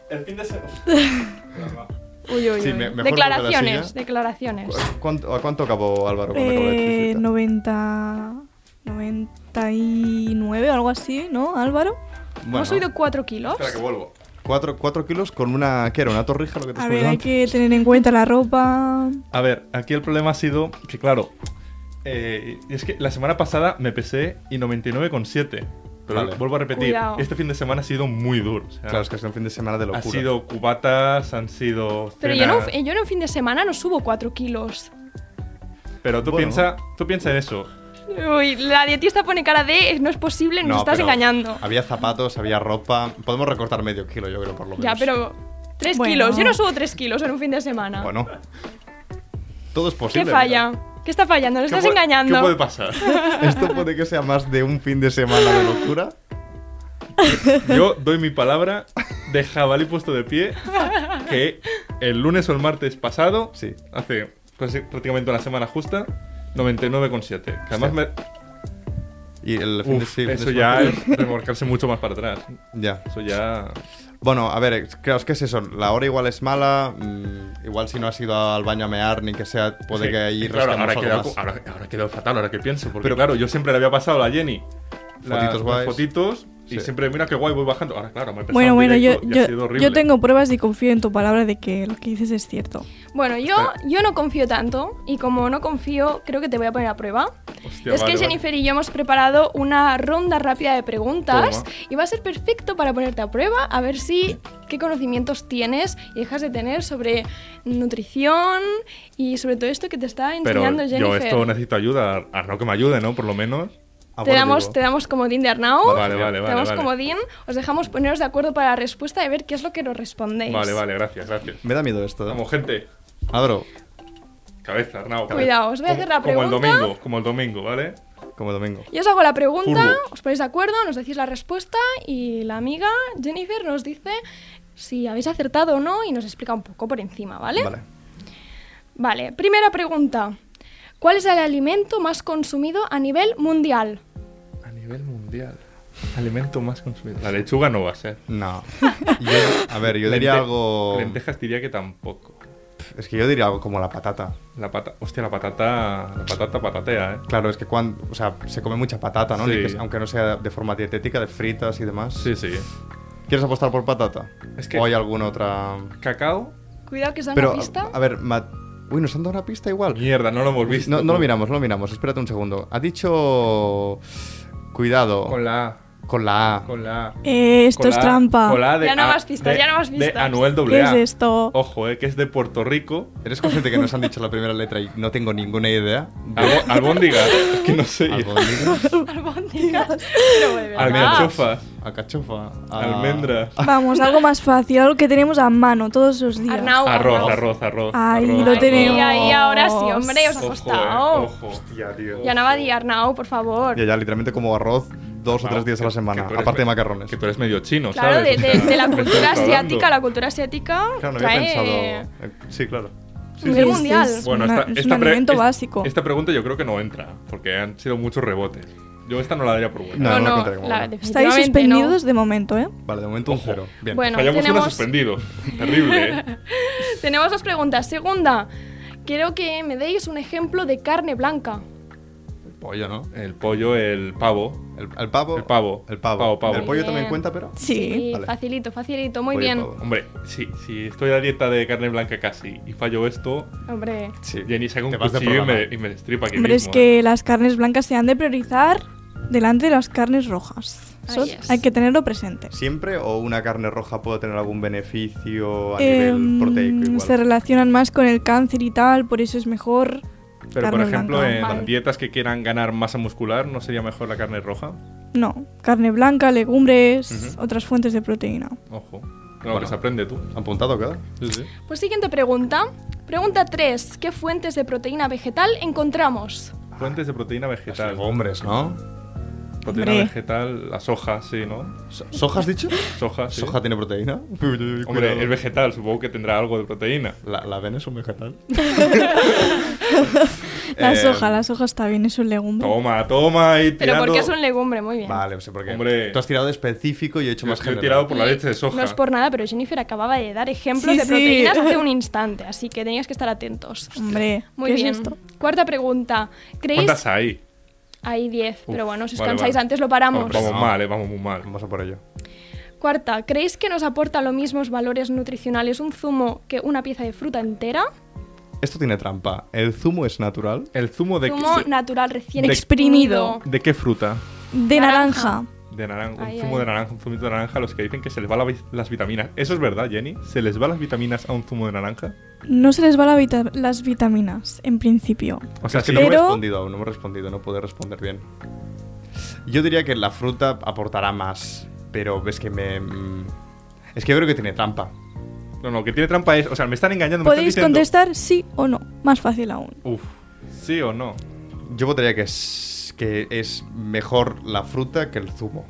Speaker 2: El fin de semana. Claro,
Speaker 1: Uy, uy,
Speaker 4: Sí,
Speaker 1: uy.
Speaker 4: me- mejor porque la
Speaker 1: declaraciones,
Speaker 4: silla-
Speaker 1: declaraciones.
Speaker 4: ¿Cu- ¿Cuánto, ¿A cuánto acabó Álvaro cuando acabó la
Speaker 3: Eh,
Speaker 4: bicicleta?
Speaker 3: 90... 99 o algo así, ¿no, Álvaro?
Speaker 4: Bueno,
Speaker 1: Hemos subido 4 kilos.
Speaker 2: Espera que vuelvo.
Speaker 4: 4, kilos con una... ¿Qué era? ¿Una torrija lo que te
Speaker 2: Pues
Speaker 3: A
Speaker 4: has
Speaker 3: ver,
Speaker 4: comido
Speaker 3: hay
Speaker 4: antes?
Speaker 3: que tener en cuenta la ropa.
Speaker 2: (laughs) A ver, aquí el problema ha sido que, claro, eh, es que la semana pasada me pesé y 99,7. Pero
Speaker 4: Vale.
Speaker 2: vuelvo a repetir,
Speaker 1: Cuidado.
Speaker 2: este fin de semana ha sido muy duro. o sea,
Speaker 4: Claro, es que ha sido un fin de semana de
Speaker 2: ha
Speaker 4: locura.
Speaker 2: sido cubatas, han sido.
Speaker 1: Pero yo, no,
Speaker 2: cenas.
Speaker 1: yo en un fin de semana no subo 4 kilos.
Speaker 2: Pero tú
Speaker 4: Bueno.
Speaker 2: piensa, tú piensa en eso.
Speaker 1: Uy, la dietista pone cara de "Eh, no es posible, nos
Speaker 4: No,
Speaker 1: estás
Speaker 4: pero
Speaker 1: engañando.
Speaker 4: Había zapatos, había ropa. Podemos recortar medio kilo, yo creo, por lo menos.
Speaker 1: Ya, pero 3
Speaker 3: Bueno.
Speaker 1: kilos. Yo no subo 3 kilos en un fin de semana.
Speaker 4: Bueno. Todo es
Speaker 1: ¿Qué
Speaker 4: posible.
Speaker 1: falla? ¿Qué está fallando? Nos
Speaker 2: ¿Qué
Speaker 1: estás
Speaker 2: puede-
Speaker 1: engañando.
Speaker 2: ¿Qué puede
Speaker 1: (laughs)
Speaker 2: pasar?
Speaker 4: mira. Esto puede que sea más de un fin de semana de locura.
Speaker 2: Yo doy mi palabra de jabalí puesto de pie que el lunes o el martes pasado,
Speaker 4: Sí.
Speaker 2: hace casi- prácticamente una semana justa, 99,7. Que además me,
Speaker 4: Y el fin de
Speaker 2: uf,
Speaker 4: sí,
Speaker 2: eso
Speaker 4: es-
Speaker 2: ya es remorcarse mucho más para atrás.
Speaker 4: Ya.
Speaker 2: Eso ya...
Speaker 4: Bueno, a ver, es- claro, es que es eso. La hora igual es mala. mm, igual si no has ido al baño a mear ni que sea, puede
Speaker 2: Sí,
Speaker 4: que ahí
Speaker 2: claro,
Speaker 4: rasquemos
Speaker 2: ahora
Speaker 4: algo
Speaker 2: queda,
Speaker 4: más.
Speaker 2: ahora, ahora queda fatal, ahora que pienso. Porque
Speaker 4: Pero-
Speaker 2: claro, yo siempre le había pasado a la Jenny las-
Speaker 4: Fotitos
Speaker 2: las
Speaker 4: guays.
Speaker 2: fotitos y
Speaker 4: Sí.
Speaker 2: siempre, mira qué guay, voy bajando. Ahora, claro, me he empezado
Speaker 3: Bueno,
Speaker 2: en
Speaker 3: bueno, yo,
Speaker 2: directo y ha
Speaker 3: yo,
Speaker 2: sido
Speaker 3: yo
Speaker 2: horrible.
Speaker 3: tengo pruebas y confío en tu palabra de que lo que dices es cierto.
Speaker 1: Bueno, yo, yo no confío tanto y como no confío, creo que te voy a poner a prueba.
Speaker 2: Hostia,
Speaker 1: es
Speaker 2: vale,
Speaker 1: que
Speaker 2: vale.
Speaker 1: Jennifer y yo hemos preparado una ronda rápida de preguntas
Speaker 2: Toma.
Speaker 1: y va a ser perfecto para ponerte a prueba, a ver si qué conocimientos tienes y dejas de tener sobre nutrición y sobre todo esto que te está enseñando
Speaker 2: Pero yo
Speaker 1: Jennifer.
Speaker 2: esto necesito ayuda. Arnau que me ayude, ¿no? Por lo menos.
Speaker 4: Ah,
Speaker 1: te,
Speaker 4: bueno,
Speaker 1: damos,
Speaker 4: digo,
Speaker 1: te damos comodín de Arnau.
Speaker 2: Vale, vale,
Speaker 1: te
Speaker 2: vale,
Speaker 1: damos
Speaker 2: vale.
Speaker 1: comodín. Os dejamos poneros de acuerdo para la respuesta y ver qué es lo que nos respondéis.
Speaker 2: Vale, vale, gracias, gracias.
Speaker 4: Me da miedo esto. ¿eh?
Speaker 2: Vamos, gente.
Speaker 4: Abro,
Speaker 2: Cabeza, Arnau. cabeza.
Speaker 1: Cuidado, os voy a hacer la
Speaker 2: Como- Como el
Speaker 1: pregunta.
Speaker 2: domingo, como el domingo, ¿vale?
Speaker 4: como domingo.
Speaker 1: Yo os hago la pregunta,
Speaker 2: Curvo.
Speaker 1: os ponéis de acuerdo, nos decís la respuesta y la amiga Jennifer nos dice si habéis acertado o no y nos explica un poco por encima, ¿vale?
Speaker 4: Vale.
Speaker 1: Vale, primera pregunta. ¿Cuál es el alimento más consumido a nivel mundial?
Speaker 2: A nivel mundial. Alimento más consumido. La lechuga no va a ser.
Speaker 4: No. (laughs) Yo- a ver, yo diría
Speaker 2: Lente-
Speaker 4: algo.
Speaker 2: Lentejas diría que tampoco.
Speaker 4: Es que yo diría algo como la patata.
Speaker 2: La pata... Hostia, la patata... La patata patatea, ¿eh?
Speaker 4: Claro, es que cuando, o sea, se come mucha patata, ¿no? Ni
Speaker 2: Sí.
Speaker 4: que sea- aunque no sea de forma dietética, de fritas y demás.
Speaker 2: Sí, sí.
Speaker 4: ¿Quieres apostar por patata?
Speaker 2: Es que-
Speaker 4: ¿O hay alguna otra...?
Speaker 2: ¿Cacao?
Speaker 1: Cuidado que os dan
Speaker 4: Pero,
Speaker 1: la pista.
Speaker 4: a ver, ma- Uy, nos han dado una pista igual.
Speaker 2: Mierda, no lo hemos visto.
Speaker 4: No, no lo miramos, no lo miramos. Espérate un segundo. Ha dicho... Cuidado.
Speaker 2: Con la A.
Speaker 4: con la A.
Speaker 2: Con la A.
Speaker 3: Eh, esto
Speaker 2: Con
Speaker 3: es
Speaker 2: la A-
Speaker 3: trampa.
Speaker 2: con la A de
Speaker 1: Ya no
Speaker 2: A-
Speaker 1: más pistas,
Speaker 2: de-
Speaker 1: ya no más
Speaker 2: De
Speaker 1: pistas.
Speaker 2: Anuel
Speaker 3: ¿Qué es
Speaker 2: AA.
Speaker 3: esto?
Speaker 2: Ojo, eh, que es de Puerto Rico.
Speaker 4: ¿Eres consciente que nos han dicho la primera letra y no tengo ninguna idea?
Speaker 2: Albo- albóndiga, que no sé.
Speaker 1: (laughs)
Speaker 4: Albóndigas,
Speaker 1: Albóndigas. Pero ah, de verdad.
Speaker 2: Almenchofas,
Speaker 4: Alcachofa. ah,
Speaker 2: (laughs) almendras.
Speaker 3: Vamos, algo más fácil, algo que tenemos a mano todos los días.
Speaker 1: Arnau,
Speaker 2: Arroz,
Speaker 1: Arnau.
Speaker 2: arroz, arroz.
Speaker 3: Oh, Ay,
Speaker 2: arroz,
Speaker 3: lo
Speaker 2: arroz.
Speaker 3: tenemos.
Speaker 1: Y ahí ahora sí, hombre, os ha
Speaker 2: Ojo,
Speaker 1: costado.
Speaker 2: eh, ojo. Hostia, tío.
Speaker 1: Ya no va a di Arnau, por favor.
Speaker 4: Ya, ya, literalmente como arroz dos o tres días a la
Speaker 2: Que-
Speaker 4: semana,
Speaker 2: que tú eres
Speaker 4: aparte de
Speaker 2: me-
Speaker 4: macarrones.
Speaker 2: Que tú eres medio chino,
Speaker 1: Claro, de,
Speaker 2: ¿sabes?
Speaker 1: de- de la
Speaker 2: (laughs) Me estás
Speaker 1: cultura
Speaker 2: hablando.
Speaker 1: asiática, la cultura asiática
Speaker 4: Claro, no había
Speaker 1: trae
Speaker 4: pensado... eh, Sí, claro.
Speaker 1: a nivel
Speaker 3: Es-
Speaker 1: mundial.
Speaker 3: es-
Speaker 2: Bueno,
Speaker 3: Una-
Speaker 2: esta,
Speaker 3: es
Speaker 2: esta
Speaker 3: un
Speaker 2: pre-
Speaker 3: alimento
Speaker 2: es-
Speaker 3: básico.
Speaker 2: Esta pregunta yo creo que no entra, porque han sido muchos rebotes. Yo esta no la daría por buena.
Speaker 4: No,
Speaker 1: No,
Speaker 4: no la
Speaker 1: no,
Speaker 4: contaré como
Speaker 1: la-
Speaker 4: buena.
Speaker 3: Estáis
Speaker 1: definitivamente
Speaker 3: suspendidos de momento, ¿eh?
Speaker 4: Vale, de momento un cero. Bien. pues
Speaker 1: Bueno,
Speaker 2: Fallamos
Speaker 1: tenemos-
Speaker 2: una
Speaker 1: (laughs)
Speaker 2: suspendido. Terrible, ¿eh?
Speaker 1: no. Tenemos dos preguntas. Segunda, quiero que me deis un ejemplo de carne blanca.
Speaker 4: (laughs) Pollo, ¿no?
Speaker 2: El pollo, el pavo.
Speaker 4: El, el pavo.
Speaker 2: El pavo.
Speaker 4: El pavo.
Speaker 2: Pavo, pavo.
Speaker 4: El pollo también
Speaker 1: Bien.
Speaker 4: cuenta, pero.
Speaker 3: Sí.
Speaker 4: vale.
Speaker 1: facilito, facilito, muy
Speaker 4: Pollo,
Speaker 1: bien.
Speaker 4: pavo.
Speaker 2: Hombre, sí, si estoy a dieta de carne blanca casi y fallo esto,
Speaker 1: Hombre,
Speaker 4: Sí.
Speaker 2: Jenny saca un
Speaker 4: Te vas de
Speaker 2: cuchillo y me,
Speaker 4: programa.
Speaker 2: y me destripa aquí
Speaker 3: Hombre, es
Speaker 2: mismo. ¿eh?
Speaker 3: que las carnes blancas se han de priorizar delante de las carnes rojas.
Speaker 1: Ahí
Speaker 3: Eso
Speaker 1: es.
Speaker 3: hay que tenerlo presente.
Speaker 4: ¿Siempre o una carne roja puede tener algún beneficio a
Speaker 3: Em,
Speaker 4: nivel proteico? Igual?
Speaker 3: se relacionan más con el cáncer y tal, por eso es mejor.
Speaker 2: Pero por
Speaker 3: carne
Speaker 2: ejemplo,
Speaker 3: blanca.
Speaker 2: en
Speaker 1: Vale.
Speaker 2: dietas que quieran ganar masa muscular, ¿no sería mejor la carne roja?
Speaker 3: No, carne blanca, legumbres, otras fuentes de proteína.
Speaker 2: Ojo. Lo que
Speaker 4: Bueno.
Speaker 2: se aprende tú.
Speaker 4: ¿Apuntado queda?
Speaker 2: Sí, sí.
Speaker 1: pues siguiente pregunta. Pregunta 3. ¿Qué fuentes de proteína vegetal encontramos?
Speaker 2: Fuentes de proteína vegetal.
Speaker 4: legumbres, ¿no?
Speaker 2: Proteína
Speaker 3: Hombre.
Speaker 2: vegetal, las hojas, sí, ¿no?
Speaker 4: So- ¿Soja has dicho?
Speaker 2: Soja, Ah, sí.
Speaker 4: ¿Soja tiene proteína? Uy, uy, uy,
Speaker 2: Hombre,
Speaker 4: cuidado.
Speaker 2: es vegetal, supongo que tendrá algo de proteína.
Speaker 4: ¿La, ¿La avena es un vegetal?
Speaker 3: La
Speaker 4: Eh,
Speaker 3: soja, la soja está bien, es un legumbre.
Speaker 2: Toma, toma y
Speaker 1: Pero
Speaker 2: tirando.
Speaker 1: porque es un legumbre, muy bien.
Speaker 4: Vale, no sé por qué.
Speaker 2: Hombre.
Speaker 4: Tú has tirado de específico y yo he hecho
Speaker 2: Yo-
Speaker 4: más
Speaker 2: yo he
Speaker 4: general.
Speaker 2: tirado por la
Speaker 1: Y
Speaker 2: leche de soja.
Speaker 1: No es por nada, pero Jennifer acababa de dar ejemplos
Speaker 3: Sí,
Speaker 1: de
Speaker 3: sí.
Speaker 1: proteínas
Speaker 3: (laughs)
Speaker 1: hace un instante, así que tenías que estar atentos.
Speaker 3: Hombre,
Speaker 1: Muy
Speaker 3: ¿qué
Speaker 1: bien.
Speaker 3: es esto?
Speaker 1: Cuarta pregunta. ¿Creéis?
Speaker 2: ¿Cuántas hay?
Speaker 1: Hay 10, pero bueno, si os
Speaker 2: vale,
Speaker 1: cansáis
Speaker 2: vale.
Speaker 1: antes lo paramos.
Speaker 2: vamos
Speaker 4: no.
Speaker 2: mal, eh, vamos muy mal.
Speaker 4: Vamos a por ello.
Speaker 1: Cuarta, ¿creéis que nos aporta los mismos valores nutricionales un zumo que una pieza de fruta entera?
Speaker 4: Esto tiene trampa. ¿El zumo es natural?
Speaker 2: ¿El zumo de,
Speaker 1: zumo
Speaker 2: qué-
Speaker 1: natural recién
Speaker 2: de-
Speaker 1: exprimido.
Speaker 2: de qué fruta?
Speaker 3: De naranja.
Speaker 2: de naranja, un
Speaker 1: Ay,
Speaker 2: zumo
Speaker 1: ay.
Speaker 2: de naranja, un zumito de naranja, los que dicen que se les va la vi- las vitaminas. ¿Eso es verdad, Jenny? ¿Se les va las vitaminas a un zumo de naranja?
Speaker 3: No se les va la vita- las vitaminas, en principio.
Speaker 2: O sea,
Speaker 4: es
Speaker 2: es
Speaker 4: que
Speaker 2: que
Speaker 4: no me he
Speaker 3: Pero-
Speaker 4: respondido aún, no me he respondido, no puedo responder bien. Yo diría que la fruta aportará más, pero ves que me... mm, Es que yo creo que tiene trampa.
Speaker 2: No, no, que tiene trampa es. O sea, me están engañando. Me están
Speaker 3: Podéis
Speaker 2: diciendo-
Speaker 3: contestar sí o no, más fácil aún.
Speaker 2: Uf, ¿sí o no?
Speaker 4: Yo votaría que es, que es mejor la fruta que el zumo.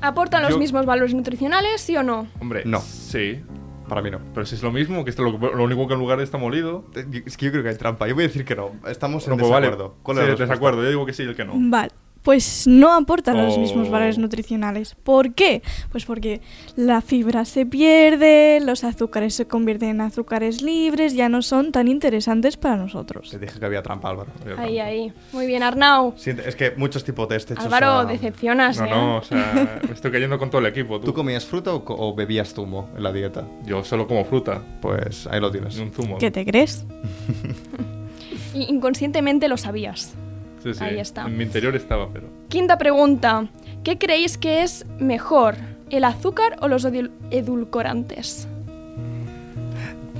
Speaker 1: ¿Aportan los
Speaker 2: Yo-
Speaker 1: mismos valores nutricionales, sí o no?
Speaker 2: Hombre,
Speaker 4: No.
Speaker 2: Sí.
Speaker 4: Para mí no.
Speaker 2: Pero si es lo mismo, que esto lo, lo único que en lugar está molido.
Speaker 4: Eh, yo- Es que yo creo que hay trampa. Yo voy a decir que no. Estamos en
Speaker 2: No, pues vale.
Speaker 4: desacuerdo. ¿Cuál
Speaker 2: Sí,
Speaker 4: es la respuesta?
Speaker 2: desacuerdo. Yo digo que sí y el que no.
Speaker 1: Mm.
Speaker 3: Vale. Pues no aportan los mismos
Speaker 2: Oh.
Speaker 3: valores nutricionales. ¿Por qué? Pues porque la fibra se pierde, los azúcares se convierten en azúcares libres, ya no son tan interesantes para nosotros.
Speaker 4: Te dije que había trampa, Álvaro.
Speaker 1: Ahí, ahí. Muy bien, Arnau.
Speaker 4: Sí, es que muchos tipos de este hecho
Speaker 1: Álvaro,
Speaker 4: son-
Speaker 1: decepcionas,
Speaker 2: No,
Speaker 1: ¿eh?
Speaker 2: no,
Speaker 1: (laughs)
Speaker 2: o sea, me estoy cayendo con todo el equipo. Tú.
Speaker 4: ¿Tú comías fruta o, co- o bebías zumo en la dieta?
Speaker 2: Yo solo como fruta,
Speaker 4: Pues ahí lo tienes.
Speaker 2: ni un zumo.
Speaker 3: ¿Qué te crees?
Speaker 1: Y inconscientemente lo sabías.
Speaker 2: Sí, sí.
Speaker 1: Ahí está.
Speaker 2: En mi interior estaba, pero.
Speaker 1: Quinta pregunta. ¿Qué creéis que es mejor, el azúcar o los edul- edulcorantes?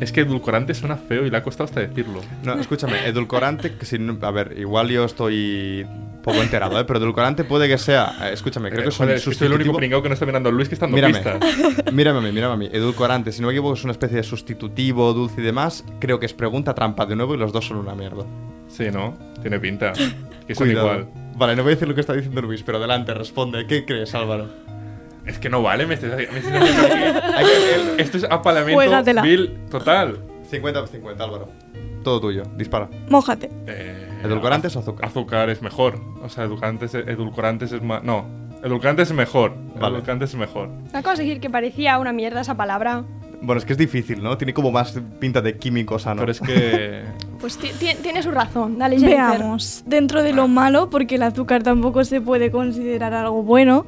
Speaker 2: Es que edulcorante suena feo y le ha costado hasta decirlo.
Speaker 4: No, escúchame, edulcorante, que si no- a ver, igual yo estoy poco enterado, ¿eh? pero edulcorante puede que sea, eh, escúchame, creo que es un
Speaker 2: Joder, es que soy el único
Speaker 4: sustitutivo-
Speaker 2: pringao que no está mirando a Luis que está dando
Speaker 4: Mírame,
Speaker 2: pistas.
Speaker 4: (laughs) mírame a mí, mírame a mí. Edulcorante, si no me equivoco, es una especie de sustitutivo, dulce y demás. Creo que es pregunta trampa de nuevo y los dos son una mierda.
Speaker 2: Sí, ¿no? Tiene
Speaker 1: (laughs)
Speaker 2: pinta. Que son
Speaker 4: Cuidado.
Speaker 2: igual.
Speaker 4: Vale, no voy a decir lo que está diciendo Luis, pero adelante, responde. ¿Qué crees, Álvaro?
Speaker 2: Es que no vale, me estás haciendo- me estás
Speaker 1: (laughs)
Speaker 2: haciendo-
Speaker 4: Hay que-
Speaker 2: Esto es apalamiento
Speaker 3: Juégatela.
Speaker 2: vil total.
Speaker 4: 50-50, Álvaro. Todo tuyo, dispara.
Speaker 3: Mójate.
Speaker 2: Eh,
Speaker 4: ¿Edulcorantes
Speaker 2: az-
Speaker 4: o azúcar?
Speaker 2: Azúcar es mejor. O sea, edulcorantes, edulcorantes es más. No, edulcorantes es mejor.
Speaker 4: Vale.
Speaker 2: Edulcorantes es mejor.
Speaker 1: Acabas de decir que parecía una mierda esa palabra.
Speaker 4: Bueno, es que es difícil, ¿no? Tiene como más pinta de químico sano.
Speaker 2: Pero es que.
Speaker 1: Pues ti- ti- tiene su razón. Dale, Jennifer.
Speaker 3: Veamos, dentro de lo malo, porque el azúcar tampoco se puede considerar algo bueno,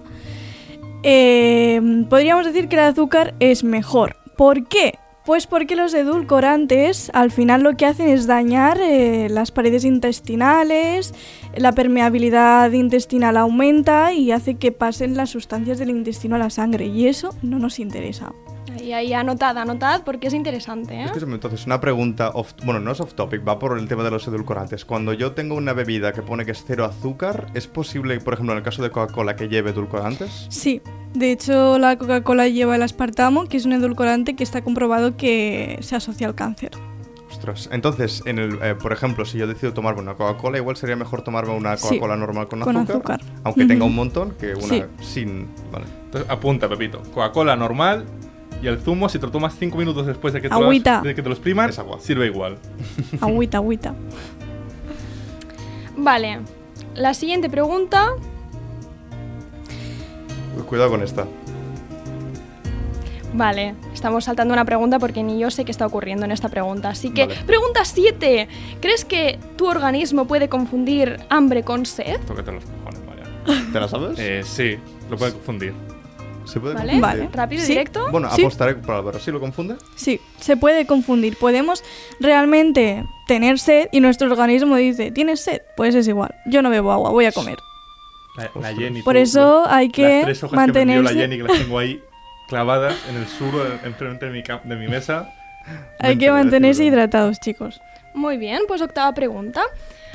Speaker 3: eh, podríamos decir que el azúcar es mejor. ¿Por qué? Pues porque los edulcorantes al final lo que hacen es dañar eh, las paredes intestinales, la permeabilidad intestinal aumenta y hace que pasen las sustancias del intestino a la sangre y eso no nos interesa.
Speaker 1: Ahí, ahí, anotad, anotad porque es interesante, ¿eh?
Speaker 4: Escúchame, entonces, una pregunta off... Bueno, no es off topic, va por el tema de los edulcorantes. Cuando yo tengo una bebida que pone que es cero azúcar, ¿es posible, por ejemplo, en el caso de Coca-Cola, que lleve edulcorantes?
Speaker 3: Sí, de hecho la Coca-Cola lleva el aspartamo, que es un edulcorante que está comprobado que se asocia al cáncer.
Speaker 4: Ostras. Entonces, en el, eh, por ejemplo, si yo decido tomarme una Coca-Cola, igual sería mejor tomarme una
Speaker 3: Sí,
Speaker 4: Coca-Cola normal con,
Speaker 3: con
Speaker 4: azúcar,
Speaker 3: azúcar.
Speaker 4: Aunque
Speaker 3: Ujú.
Speaker 4: tenga un montón, que una
Speaker 3: Sí.
Speaker 4: sin. Vale.
Speaker 2: Entonces, apunta, Pepito. Coca-Cola normal y el zumo, si te lo tomas 5 minutos después de que, te lo,
Speaker 3: Agüita.
Speaker 2: has- de que te lo expriman,
Speaker 4: Es agua.
Speaker 2: sirve igual. (laughs)
Speaker 3: Agüita, agüita.
Speaker 1: Vale. La siguiente pregunta.
Speaker 4: Uy, Cuidado con esta.
Speaker 1: Vale, estamos saltando una pregunta porque ni yo sé qué está ocurriendo en esta pregunta. Así que,
Speaker 4: Vale.
Speaker 1: pregunta 7. ¿Crees que tu organismo puede confundir hambre con sed?
Speaker 2: Tócate los cojones, vaya.
Speaker 4: ¿Te la sabes?
Speaker 2: Eh, sí, lo pueden confundir.
Speaker 4: ¿Se puede
Speaker 1: ¿Vale?
Speaker 4: confundir?
Speaker 3: Vale.
Speaker 1: ¿Rápido y
Speaker 3: Sí.
Speaker 1: directo?
Speaker 4: Bueno,
Speaker 3: Sí.
Speaker 4: apostaré por Álvaro. ¿Sí lo confunde?
Speaker 3: Sí, se puede confundir. Podemos realmente tener sed y nuestro organismo dice, ¿tienes sed? Pues es igual. Yo no bebo agua, voy a comer.
Speaker 2: La,
Speaker 4: Ostras.
Speaker 2: Jenny.
Speaker 3: Por
Speaker 2: tú,
Speaker 3: eso
Speaker 2: los-
Speaker 3: hay que
Speaker 2: Las tres hojas que me envió
Speaker 3: mantenerse-
Speaker 2: la Jenny, que las tengo
Speaker 3: (laughs)
Speaker 2: ahí clavadas en el sur, enfrente de mi, ca- de mi mesa.
Speaker 3: Hay que
Speaker 4: Mentira,
Speaker 3: mantenerse
Speaker 4: mentira.
Speaker 3: hidratados, chicos.
Speaker 1: Muy bien, pues octava pregunta.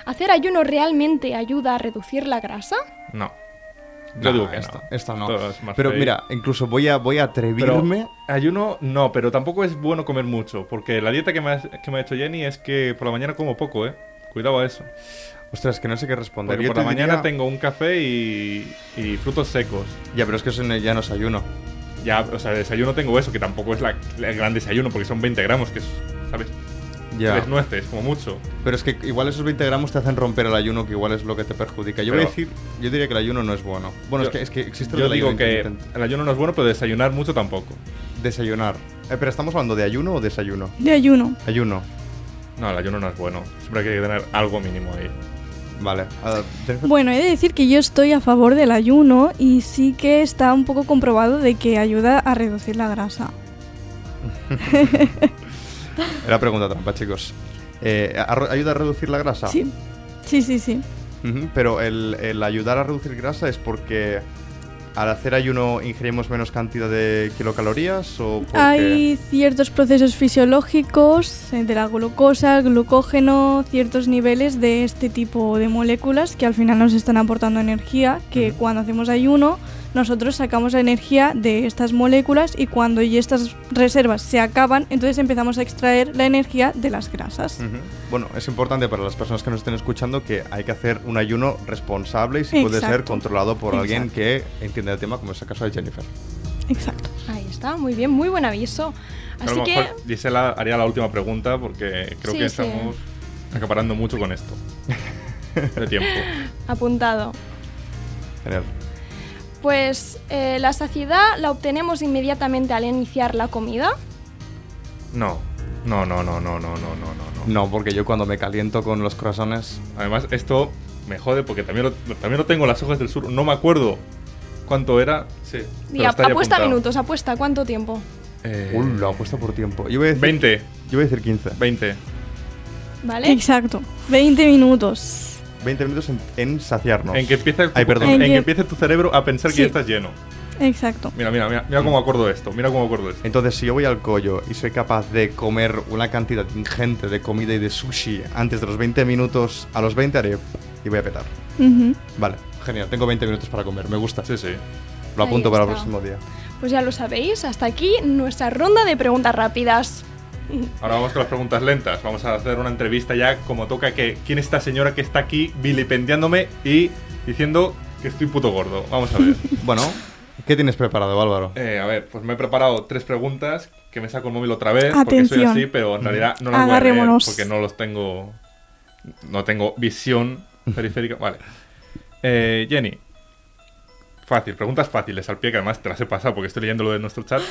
Speaker 1: ¿Hacer ayuno realmente ayuda a reducir la grasa?
Speaker 2: No. Yo
Speaker 4: Ah, No,
Speaker 2: digo que
Speaker 4: esta,
Speaker 2: no.
Speaker 4: esta no.
Speaker 2: Todo es más
Speaker 4: Pero
Speaker 2: fake.
Speaker 4: mira, incluso voy a, voy a
Speaker 2: Pero
Speaker 4: atrevirme.
Speaker 2: ayuno no, pero tampoco es bueno comer mucho, porque la dieta que me, ha, que me ha hecho Jenny es que por la mañana como poco, ¿eh? Cuidado a eso.
Speaker 4: Ostras, que no sé qué responder.
Speaker 2: Porque
Speaker 4: Yo
Speaker 2: por
Speaker 4: te
Speaker 2: la mañana
Speaker 4: diría-
Speaker 2: tengo un café y, y frutos secos.
Speaker 4: Ya, pero es que eso no- ya no es ayuno.
Speaker 2: Ya, o sea, desayuno tengo eso, que tampoco es la, el gran desayuno, porque son 20 gramos, que es, ¿sabes?
Speaker 4: Ya.
Speaker 2: Tres nueces, como mucho.
Speaker 4: Pero es que igual esos 20 gramos te hacen romper el ayuno, que igual es lo que te perjudica. Yo voy
Speaker 2: Pero-
Speaker 4: a decir, yo diría que el ayuno no es bueno. Bueno,
Speaker 2: Yo-
Speaker 4: es, que, es que existe lo
Speaker 2: Yo
Speaker 4: del
Speaker 2: digo
Speaker 4: ayuno
Speaker 2: que
Speaker 4: intermitente.
Speaker 2: el ayuno no es bueno, pero desayunar mucho tampoco.
Speaker 4: Desayunar. Eh, pero estamos hablando de ayuno o desayuno.
Speaker 3: De ayuno.
Speaker 4: Ayuno.
Speaker 2: No, el ayuno no es bueno. Siempre hay que tener algo mínimo ahí.
Speaker 4: Vale. Ah, ten-
Speaker 3: Bueno, he de decir que yo estoy a favor del ayuno y sí que está un poco comprobado de que ayuda a reducir la grasa.
Speaker 4: Era pregunta trampa, chicos. Eh, ¿a- ¿Ayuda a reducir la grasa?
Speaker 3: Sí. Sí, sí, sí.
Speaker 4: Ujú, pero el, el ayudar a reducir grasa es porque ¿Al hacer ayuno ingerimos menos cantidad de kilocalorías o porque...
Speaker 3: Hay ciertos procesos fisiológicos eh, de la glucosa, el glucógeno, ciertos niveles de este tipo de moléculas que al final nos están aportando energía, que cuando hacemos ayuno nosotros sacamos la energía de estas moléculas y cuando ya estas reservas se acaban, entonces empezamos a extraer la energía de las grasas.
Speaker 4: Ujú. Bueno, es importante para las personas que nos estén escuchando que hay que hacer un ayuno responsable y si puede ser
Speaker 3: Exacto.
Speaker 4: controlado por alguien que entienda el tema, como es el caso de Jennifer.
Speaker 3: Exacto.
Speaker 1: Ahí está, muy bien, muy buen aviso.
Speaker 2: a
Speaker 1: Así
Speaker 2: lo
Speaker 1: que,
Speaker 2: mejor Gisela haría la última pregunta porque creo
Speaker 1: Sí,
Speaker 2: que
Speaker 1: sí.
Speaker 2: estamos acaparando mucho con esto. De tiempo.
Speaker 1: apuntado.
Speaker 4: Genial.
Speaker 1: Pues eh, la saciedad la obtenemos inmediatamente al iniciar la comida.
Speaker 2: No. No, no, no, no, no, no, no, no, no.
Speaker 4: No, porque yo cuando me caliento con los corazones...
Speaker 2: Además, esto me jode porque también lo, también lo tengo en las hojas del sur. No me acuerdo cuánto era. Sí.
Speaker 1: Y ap-
Speaker 2: pero está ahí
Speaker 1: apuesta
Speaker 2: apuntado.
Speaker 1: minutos, apuesta, ¿cuánto tiempo?
Speaker 2: Eh,
Speaker 4: Uh, lo apuesta por tiempo. Yo voy a decir,
Speaker 2: 20.
Speaker 4: Yo voy a decir 15.
Speaker 2: 20.
Speaker 1: ¿Vale?
Speaker 3: Exacto. 20 minutos.
Speaker 4: 20 minutos en, en saciarnos.
Speaker 2: En que empieza,
Speaker 4: Ay, perdón.
Speaker 2: En,
Speaker 3: En
Speaker 2: que
Speaker 3: que-
Speaker 2: empiece tu cerebro a pensar que
Speaker 3: Sí.
Speaker 2: ya estás lleno.
Speaker 3: Exacto.
Speaker 2: Mira, mira, mira, mira cómo acuerdo esto. Mira cómo acuerdo esto.
Speaker 4: Entonces, si yo voy al collo y soy capaz de comer una cantidad ingente de comida y de sushi antes de los 20 minutos, a los 20 haré y voy a petar.
Speaker 3: Ujú.
Speaker 4: Vale, genial, tengo 20 minutos para comer, me gusta.
Speaker 2: Sí, sí.
Speaker 4: Lo
Speaker 1: Ahí
Speaker 4: apunto para el
Speaker 1: está.
Speaker 4: próximo
Speaker 1: (laughs)
Speaker 4: día.
Speaker 1: Pues ya lo sabéis, hasta aquí nuestra ronda de preguntas rápidas.
Speaker 2: Ahora vamos con las preguntas lentas. Vamos a hacer una entrevista ya como toca que quién es esta señora que está aquí vilipendiándome y diciendo que estoy puto gordo. Vamos a
Speaker 3: (laughs)
Speaker 2: ver.
Speaker 4: Bueno, ¿qué tienes preparado, Álvaro?
Speaker 2: Eh, a ver, pues me he preparado tres preguntas que me saco el móvil otra vez porque
Speaker 3: Atención.
Speaker 2: soy así, pero en realidad no las voy a leer
Speaker 3: Agarrémonos.
Speaker 2: porque no los tengo, no tengo
Speaker 3: (laughs)
Speaker 2: visión periférica. Vale. Eh, Jenny, fácil, preguntas fáciles al pie que además te las he pasado porque estoy leyendo lo de nuestro
Speaker 3: (laughs)
Speaker 2: chat.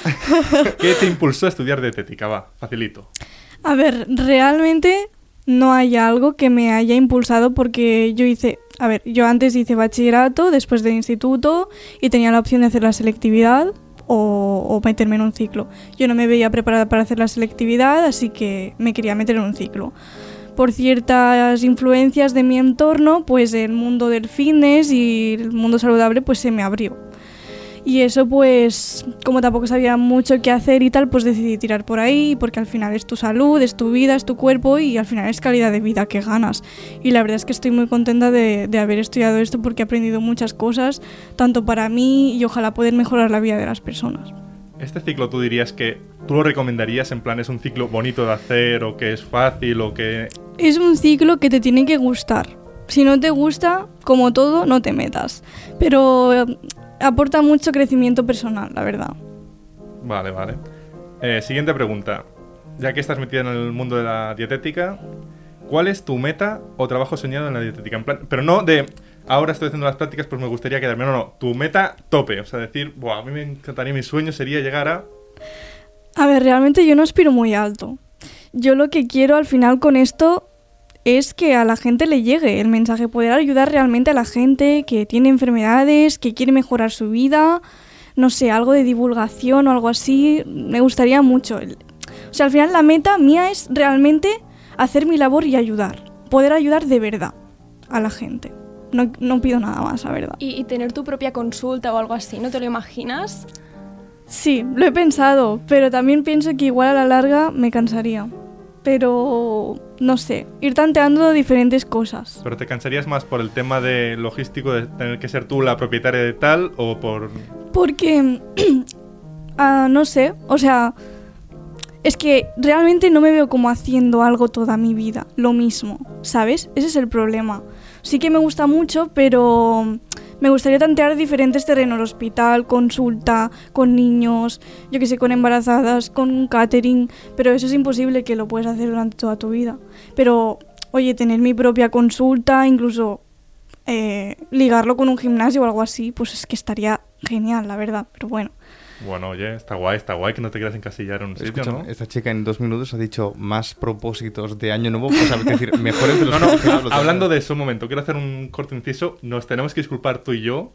Speaker 2: ¿Qué te impulsó a estudiar dietética? Va, facilito.
Speaker 3: A ver, realmente no hay algo que me haya impulsado porque yo hice, a ver, yo antes hice bachillerato, después del instituto y tenía la opción de hacer la selectividad o, o meterme en un ciclo. Yo no me veía preparada para hacer la selectividad, así que me quería meter en un ciclo. Por ciertas influencias de mi entorno, pues el mundo del fitness y el mundo saludable pues se me abrió. Y eso pues, como tampoco sabía mucho qué hacer y tal, pues decidí tirar por ahí, porque al final es tu salud, es tu vida, es tu cuerpo y al final es calidad de vida que ganas. Y la verdad es que estoy muy contenta de, de haber estudiado esto porque he aprendido muchas cosas, tanto para mí y ojalá poder mejorar la vida de las personas.
Speaker 2: Este ciclo tú dirías que tú lo recomendarías en plan es un ciclo bonito de hacer o que es fácil o que
Speaker 3: Es un ciclo que te tiene que gustar. Si no te gusta, como todo, no te metas. Pero eh, aporta mucho crecimiento personal, la verdad.
Speaker 2: Vale, vale. Eh, siguiente pregunta. Ya que estás metida en el mundo de la dietética, ¿cuál es tu meta o trabajo soñado en la dietética? En plan, pero no de ahora estoy haciendo las prácticas, pues me gustaría quedarme. No, no, tu meta tope. O sea, decir, Buah, a mí me encantaría, mi sueño sería llegar a.
Speaker 3: A ver, realmente yo no aspiro muy alto. Yo lo que quiero al final con esto es que a la gente le llegue el mensaje, poder ayudar realmente a la gente que tiene enfermedades, que quiere mejorar su vida, no sé, algo de divulgación o algo así, me gustaría mucho. El- O sea, al final la meta mía es realmente hacer mi labor y ayudar, poder ayudar de verdad a la gente. No, no pido nada más, la verdad.
Speaker 1: Y, y tener tu propia consulta o algo así, ¿no te lo imaginas?
Speaker 3: Sí, lo he pensado, pero también pienso que igual a la larga me cansaría. Pero no sé, ir tanteando diferentes cosas.
Speaker 2: Pero te cansarías más por el tema de logístico de tener que ser tú la propietaria de tal o por.
Speaker 3: Porque, (clears throat) ah, no sé, o sea, es que realmente no me veo como haciendo algo toda mi vida, lo mismo, ¿sabes? Ese es el problema. Sí que me gusta mucho, pero me gustaría tantear diferentes terrenos, hospital, consulta, con niños, yo que sé, con embarazadas, con un catering, pero eso es imposible que lo puedes hacer durante toda tu vida. Pero, oye, tener mi propia consulta, incluso eh, ligarlo con un gimnasio o algo así, pues es que estaría genial, la verdad, pero bueno.
Speaker 2: Bueno, oye, está guay, está guay que no te quieras encasillar en un sitio,
Speaker 4: Escúchame,
Speaker 2: ¿no?
Speaker 4: esta chica en dos minutos ha dicho más propósitos de año nuevo, o sea,
Speaker 1: (laughs)
Speaker 4: es decir, mejores de los
Speaker 2: No, no,
Speaker 4: que yo lo tengo.
Speaker 2: hablando de eso un momento, quiero hacer un corte inciso. Nos tenemos que disculpar tú y yo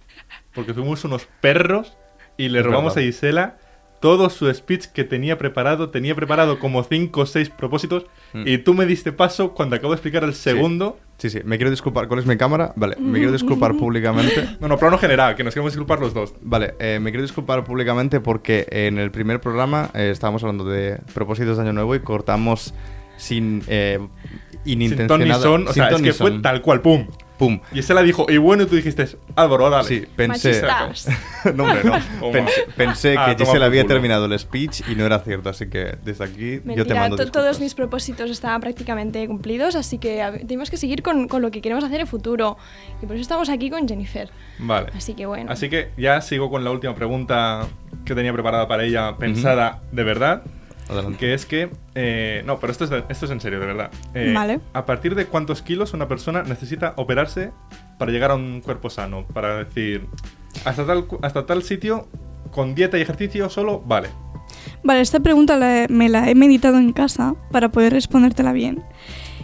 Speaker 2: porque fuimos unos perros y le
Speaker 4: Es
Speaker 2: robamos
Speaker 4: verdad.
Speaker 2: a Gisela todo su speech que tenía preparado. Tenía preparado como 5 o 6 propósitos. Y tú me diste paso cuando acabo de explicar el segundo.
Speaker 4: Mm. Sí, sí, me quiero disculpar. ¿Cuál es mi cámara? Vale, me quiero
Speaker 1: (laughs)
Speaker 4: disculpar públicamente.
Speaker 2: No, no, plano general, que nos queremos disculpar los dos.
Speaker 4: Vale, eh, me quiero disculpar públicamente porque en el primer programa eh, estábamos hablando de propósitos de Año Nuevo y cortamos sin eh,
Speaker 2: Sin ton ni
Speaker 4: inintencionada.
Speaker 2: son. O sea,
Speaker 4: sin
Speaker 2: es
Speaker 4: ton ni
Speaker 2: que fue
Speaker 4: son.
Speaker 2: tal cual, pum.
Speaker 4: Pum.
Speaker 2: Y esa la dijo, y bueno, y tú dijiste, Álvaro, dale.
Speaker 4: Sí, pensé.
Speaker 1: Machistas.
Speaker 4: (laughs) no, hombre, no.
Speaker 2: Toma.
Speaker 4: (laughs) Pensé, pensé
Speaker 2: Ah,
Speaker 4: que
Speaker 2: toma
Speaker 4: Giselle
Speaker 2: por
Speaker 4: había
Speaker 2: culo.
Speaker 4: terminado el speech y no era cierto, así que desde aquí yo te
Speaker 1: Mentira,
Speaker 4: mando.
Speaker 1: to- todos
Speaker 4: disculpas.
Speaker 1: mis propósitos estaban prácticamente cumplidos, así que a ver, tenemos que seguir con, con lo que queremos hacer en el futuro. Y por eso estamos aquí con Jennifer.
Speaker 2: Vale.
Speaker 1: Así que bueno.
Speaker 2: Así que ya sigo con la última pregunta que tenía preparada para ella, pensada de verdad.
Speaker 4: Adelante.
Speaker 2: Que es que. eh, no, pero esto es, de- esto es en serio, de verdad. Eh,
Speaker 3: Vale.
Speaker 2: ¿A partir de cuántos kilos una persona necesita operarse para llegar a un cuerpo sano? Para decir, hasta tal, cu- hasta tal sitio, con dieta y ejercicio solo, vale.
Speaker 3: Vale, esta pregunta la he- me la he meditado en casa para poder respondértela bien.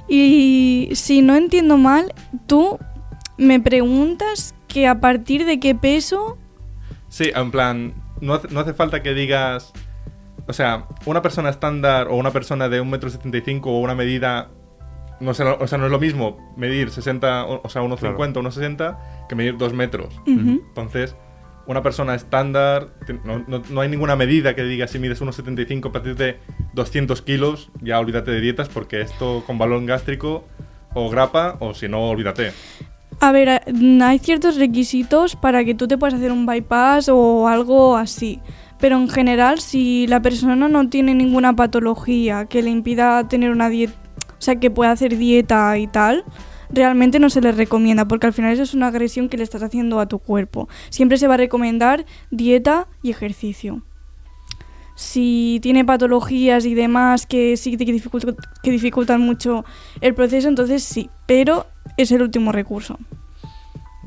Speaker 3: Y si no entiendo mal, tú me preguntas que a partir de qué peso...
Speaker 2: Sí, en plan, no hace, no hace falta que digas. O sea, una persona estándar o una persona de 1,75m o una medida. No sé, o sea, no es lo mismo medir 60, o o sea, 1,50,
Speaker 4: Claro.
Speaker 2: 1,60 que medir 2 metros.
Speaker 3: Ujú.
Speaker 2: Entonces, una persona estándar, te- no, no- no hay ninguna medida que diga si mides 1,75 a partir de 200 kilos, ya olvídate de dietas porque esto con balón gástrico o grapa o si no, olvídate.
Speaker 3: A ver, a- mm, hay ciertos requisitos para que tú te puedas hacer un bypass o algo así. Pero en general, si la persona no tiene ninguna patología que le impida tener una dieta, o sea, que pueda hacer dieta y tal, realmente no se le recomienda, porque al final eso es una agresión que le estás haciendo a tu cuerpo. Siempre se va a recomendar dieta y ejercicio. Si tiene patologías y demás que sí que, dificult- que dificultan mucho el proceso, entonces sí, pero es el último recurso.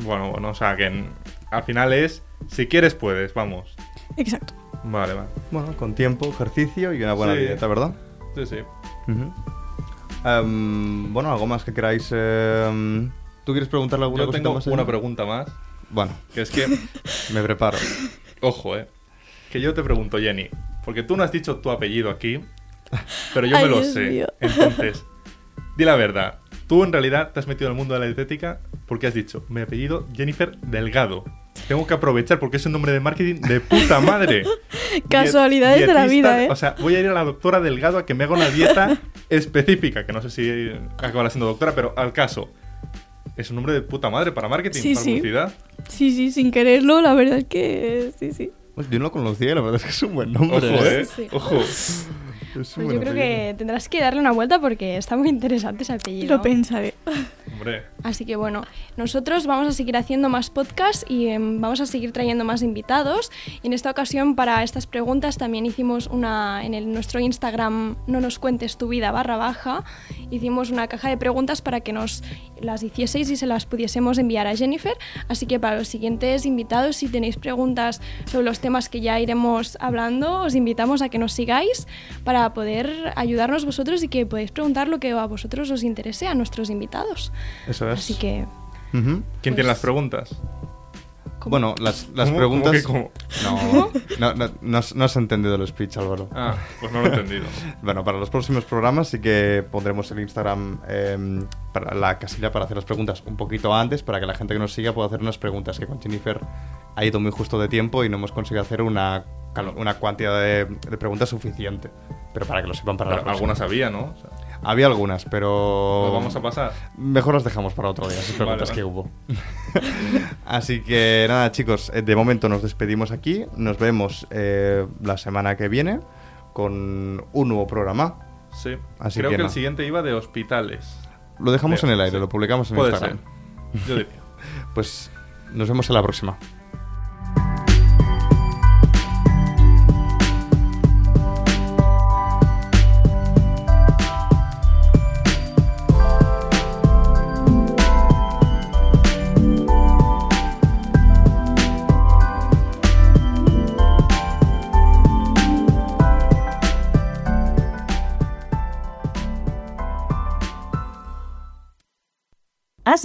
Speaker 2: Bueno, bueno, o sea, que en- al final es, si quieres puedes, vamos.
Speaker 3: Exacto.
Speaker 2: Vale, vale.
Speaker 4: Bueno, con tiempo, ejercicio y una buena
Speaker 2: Sí.
Speaker 4: dieta, ¿verdad?
Speaker 2: Sí, sí.
Speaker 4: Ujú. Em, bueno, algo más que queráis. em, ¿Tú quieres preguntarle alguna
Speaker 2: Yo
Speaker 4: cosita
Speaker 2: tengo
Speaker 4: más? ¿eh?
Speaker 2: una
Speaker 4: Elena?
Speaker 2: pregunta más,
Speaker 4: Bueno,
Speaker 2: que es
Speaker 4: (laughs)
Speaker 2: que,
Speaker 4: me preparo.
Speaker 2: ojo, eh, que yo te pregunto, Jenny, porque tú no has dicho tu apellido aquí, pero yo
Speaker 3: Ay,
Speaker 2: me lo
Speaker 3: Dios
Speaker 2: sé.
Speaker 3: mío.
Speaker 2: Entonces,
Speaker 3: (laughs)
Speaker 2: di la verdad, tú en realidad te has metido en el mundo de la dietética porque has dicho, mi apellido Jennifer Delgado. Tengo que aprovechar porque es un nombre de marketing de puta
Speaker 3: (laughs)
Speaker 2: madre.
Speaker 3: Casualidades
Speaker 2: Die-
Speaker 3: de la
Speaker 2: dietista-
Speaker 3: vida, ¿eh?
Speaker 2: O sea, voy a ir a la doctora Delgado a que me haga una
Speaker 3: (laughs)
Speaker 2: dieta específica, que no sé si acabará siendo doctora, pero al caso. Es un nombre de puta madre para marketing,
Speaker 3: Sí,
Speaker 2: para
Speaker 3: sí.
Speaker 2: publicidad.
Speaker 3: Sí, sí, sin quererlo, la verdad es que sí, sí.
Speaker 4: Pues yo no lo conocía, la verdad es que es un buen nombre.
Speaker 2: Ojo,
Speaker 4: ¿eh?
Speaker 2: eh.
Speaker 1: Sí, sí.
Speaker 4: (laughs)
Speaker 2: Ojo.
Speaker 4: Es un
Speaker 1: Pues
Speaker 4: buen
Speaker 1: yo creo
Speaker 4: apellido.
Speaker 1: que tendrás que darle una vuelta porque está muy interesante ese apellido.
Speaker 3: Lo pensaré.
Speaker 2: Hombre.
Speaker 1: Así que bueno, nosotros vamos a seguir haciendo más podcasts y em, vamos a seguir trayendo más invitados. Y en esta ocasión para estas preguntas también hicimos una en el, nuestro Instagram no nos cuentes tu vida barra baja. Hicimos una caja de preguntas para que nos las hicieseis y se las pudiésemos enviar a Jennifer. Así que para los siguientes invitados, si tenéis preguntas sobre los temas que ya iremos hablando, os invitamos a que nos sigáis para poder ayudarnos vosotros y que podéis preguntar lo que a vosotros os interese a nuestros invitados.
Speaker 4: Eso es.
Speaker 1: Así que,
Speaker 4: Ujú.
Speaker 2: ¿Quién
Speaker 3: Pues
Speaker 2: tiene las preguntas?
Speaker 1: ¿cómo?
Speaker 4: Bueno, las, las
Speaker 2: ¿Cómo? ¿Cómo
Speaker 4: preguntas.
Speaker 2: que cómo?
Speaker 4: No, no, no, no has, no has entendido el speech, Álvaro.
Speaker 2: (laughs) Ah, pues no lo he entendido.
Speaker 4: Bueno, para los próximos programas sí que pondremos el Instagram, eh, para la casilla para hacer las preguntas un poquito antes, para que la gente que nos siga pueda hacer unas preguntas, que con Jennifer ha ido muy justo de tiempo y no hemos conseguido hacer una, calo- una cantidad de, de preguntas suficiente. Pero para que lo sepan para la
Speaker 2: Pero
Speaker 4: próxima. Oh.
Speaker 2: algunas había, ¿no? O sea,
Speaker 4: Había algunas, pero...
Speaker 2: lo vamos a pasar.
Speaker 4: Mejor las dejamos para otro día, esas
Speaker 2: (laughs)
Speaker 4: preguntas
Speaker 2: Vale,
Speaker 4: que hubo. (laughs) Así que nada, chicos, eh, de momento nos despedimos aquí. Nos vemos eh, la semana que viene con un nuevo programa.
Speaker 2: Sí.
Speaker 4: Así
Speaker 2: Creo
Speaker 4: que
Speaker 2: que,
Speaker 4: no.
Speaker 2: el siguiente iba de hospitales.
Speaker 4: Lo dejamos
Speaker 2: Sí,
Speaker 4: en el aire,
Speaker 2: sí.
Speaker 4: lo publicamos en
Speaker 2: Puede
Speaker 4: Instagram.
Speaker 2: ser. Yo diría.
Speaker 4: Pues nos vemos en la próxima.
Speaker 5: Has